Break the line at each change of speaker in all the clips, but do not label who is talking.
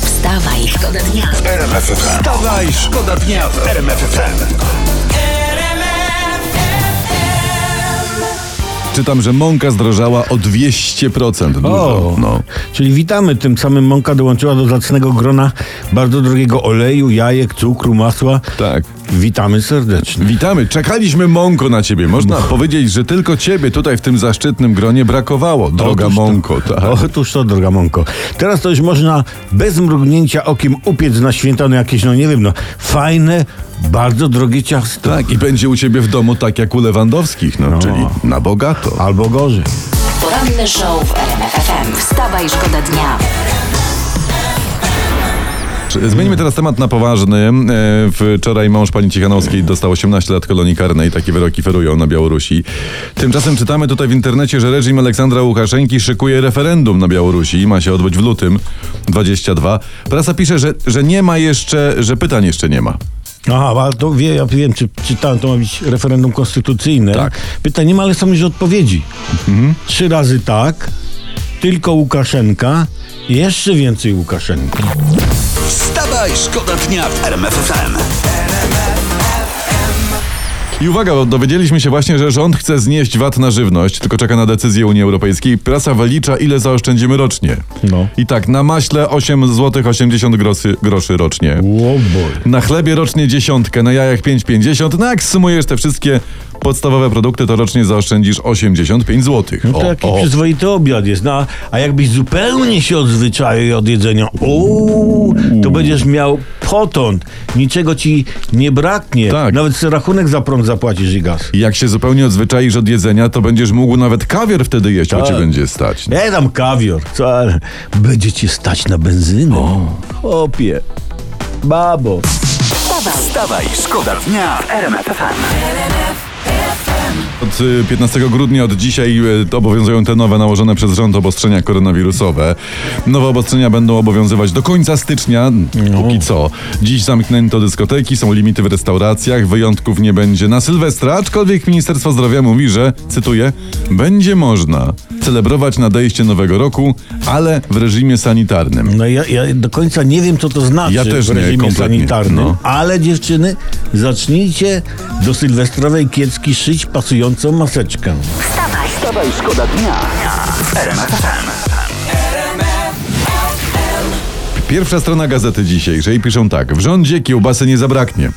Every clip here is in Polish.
Wstawaj, szkoda dnia.
Wstawaj, szkoda dnia w RMF FM.
Czytam, że mąka zdrożała o 200%. Dużo.
O,
No.
czyli witamy. Tym samym mąka dołączyła do zacnego grona bardzo drogiego oleju, jajek, cukru, masła.
Tak.
Witamy serdecznie.
Witamy, czekaliśmy mąko na ciebie. Można powiedzieć, że tylko ciebie tutaj w tym zaszczytnym gronie brakowało, droga
Otóż to-
mąko. Tak.
Otóż to, droga mąko. Teraz to już można bez mrugnięcia okiem upiec na święta no jakieś, no nie wiem, no fajne, bardzo drogie ciasto.
tak, i będzie u ciebie w domu tak jak u Lewandowskich, no, czyli na bogato.
Albo gorzej.
Poranny show w RMF FM. Wstawaj, szkoda dnia.
Zmienimy teraz temat na poważny. E, Wczoraj mąż pani Cichanowskiej dostał 18 lat kolonii karnej. Takie wyroki ferują na Białorusi. Tymczasem czytamy tutaj w internecie, że reżim Aleksandra Łukaszenki szykuje referendum na Białorusi. Ma się odbyć w lutym 22. Prasa pisze, że, że nie ma jeszcze, że pytań jeszcze nie ma.
Aha, ale to wie, ja wiem, czy czytałem, to ma być referendum konstytucyjne. Tak. Pytanie ma, ale są już odpowiedzi. Trzy razy tak, tylko Łukaszenka, jeszcze więcej Łukaszenki.
Wstawaj, szkoda dnia w RMF FM.
I uwaga, bo dowiedzieliśmy się właśnie, że rząd chce znieść VAT na żywność, tylko czeka na decyzję Unii Europejskiej. Prasa wylicza, ile zaoszczędzimy rocznie.
No.
I tak, na maśle 8 zł 80 groszy, groszy rocznie.
Łoboj.
Na chlebie rocznie dziesiątkę, na jajach 5,50. No jak sumujesz te wszystkie podstawowe produkty, to rocznie zaoszczędzisz 85 zł.
No to jaki przyzwoity obiad jest. No, a- a jakbyś zupełnie się odzwyczaił i od jedzenia, uuu, to będziesz miał potąd. Niczego ci nie braknie.
Tak.
Nawet sobie rachunek za prąd zapłacisz i gaz.
Jak się zupełnie odzwyczaisz od jedzenia, to będziesz mógł nawet kawier wtedy jeść, bo ci
Tak.
będzie stać.
Nie dam kawior, co? ale Będzie ci stać na benzynę. Chłopie, babo.
Wstawaj,
Wstawaj, szkoda dnia w RMF FM.
Od y, 15 grudnia, od dzisiaj y, obowiązują te nowe nałożone przez rząd obostrzenia koronawirusowe. Nowe obostrzenia będą obowiązywać do końca stycznia, póki co. Dziś zamknięto dyskoteki, są limity w restauracjach, wyjątków nie będzie na Sylwestra, aczkolwiek Ministerstwo Zdrowia mówi, że, cytuję, będzie można celebrować nadejście nowego roku, ale w reżimie sanitarnym.
No ja, ja do końca nie wiem, co to znaczy
Ja też
w
nie,
reżimie
kompletnie,
sanitarnym,
no.
ale dziewczyny, zacznijcie do sylwestrowej kiecki szyć pasującą maseczkę.
wstawaj.
Wstawaj, szkoda dnia w RMF FM.
Pierwsza strona gazety dzisiejszej piszą tak. W rządzie kiełbasy nie zabraknie.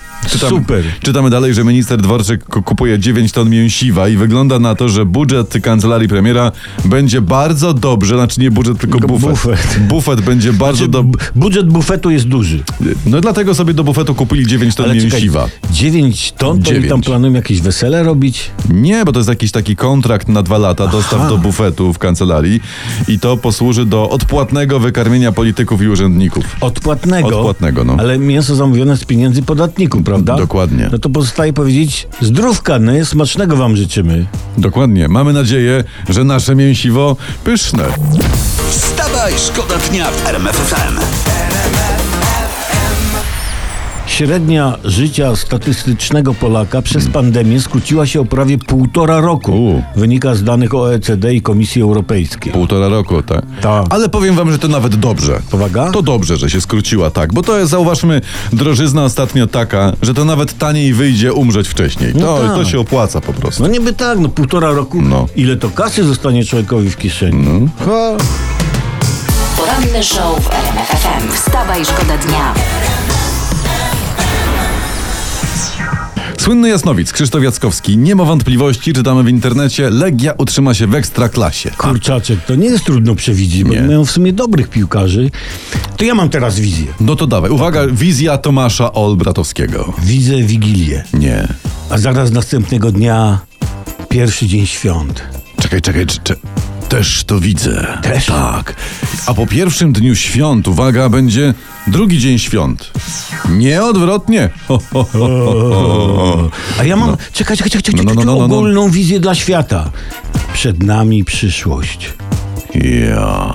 Super.
Czytamy dalej, że minister Dworczyk ku- kupuje 9 ton mięsiwa i wygląda na to, że budżet kancelarii premiera będzie bardzo dobrze, znaczy nie budżet, tylko
Tylko
bufet.
bufet. Znaczy
Bufet będzie bardzo
B-
dobrze.
Budżet bufetu jest duży.
No dlatego sobie do bufetu kupili 9 ton mięsiwa.
9 ton, to oni tam
Dziewięć.
planują jakieś wesele robić?
Nie, bo to jest jakiś taki kontrakt na dwa lata, dostaw do bufetu w kancelarii i to posłuży do odpłatnego wykarmienia polityków i urzędników.
Odpłatnego.
Odpłatnego, no.
Ale mięso zamówione z pieniędzy podatników, prawda?
Dokładnie.
No to pozostaje powiedzieć, zdrówka, no, smacznego wam życzymy.
Dokładnie. Mamy nadzieję, że nasze mięsiwo pyszne.
Wstawaj, szkoda dnia w RMF FM.
Średnia życia statystycznego Polaka przez pandemię skróciła się o prawie półtora roku.
Hmm. U.
Wynika z danych OECD i Komisji Europejskiej.
Półtora roku, tak?
Tak.
Ale powiem wam, że to nawet dobrze.
Powaga?
To dobrze, że się skróciła, tak. Bo to jest, zauważmy, drożyzna ostatnio taka, że to nawet taniej wyjdzie umrzeć wcześniej. To,
tak.
to się opłaca po prostu.
No niby tak, no półtora roku.
No.
Ile to kasy zostanie człowiekowi w kieszeni?
Ha.
Poranny show w RMF FM. Wstawaj, szkoda dnia.
Słynny Jasnowic, Krzysztof Jackowski. Nie ma wątpliwości, czytamy w internecie, Legia utrzyma się w ekstraklasie.
Kurczaczek, to nie jest trudno przewidzieć, bo
Nie.
mają w sumie dobrych piłkarzy. To ja mam teraz wizję.
No to dawaj. Uwaga, wizja Tomasza Olbratowskiego.
Widzę Wigilię,
Nie.
a zaraz następnego dnia pierwszy dzień świąt.
Czekaj, czekaj, czy, czy... Też to widzę.
Też?
Tak. A po pierwszym dniu świąt, uwaga, będzie drugi dzień świąt. Nie odwrotnie. Ho, ho, ho, ho, ho.
A ja mam, czekaj, czekaj, czekaj, czekaj,
No, no, no, no, no, no.
ogólną wizję dla świata. Przed nami przyszłość.
Ja.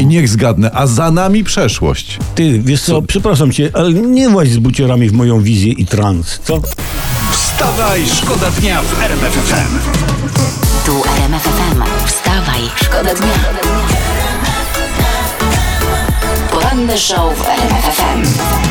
I niech zgadnę, a za nami przeszłość.
Ty, wiesz co, przepraszam cię, ale nie właź z buciorami w moją wizję i trans, co?
Wstawaj, szkoda dnia w RMF FM.
Tu RMF FM. Wstawaj, szkoda dnia. Poranny Poranny show w RMFFM.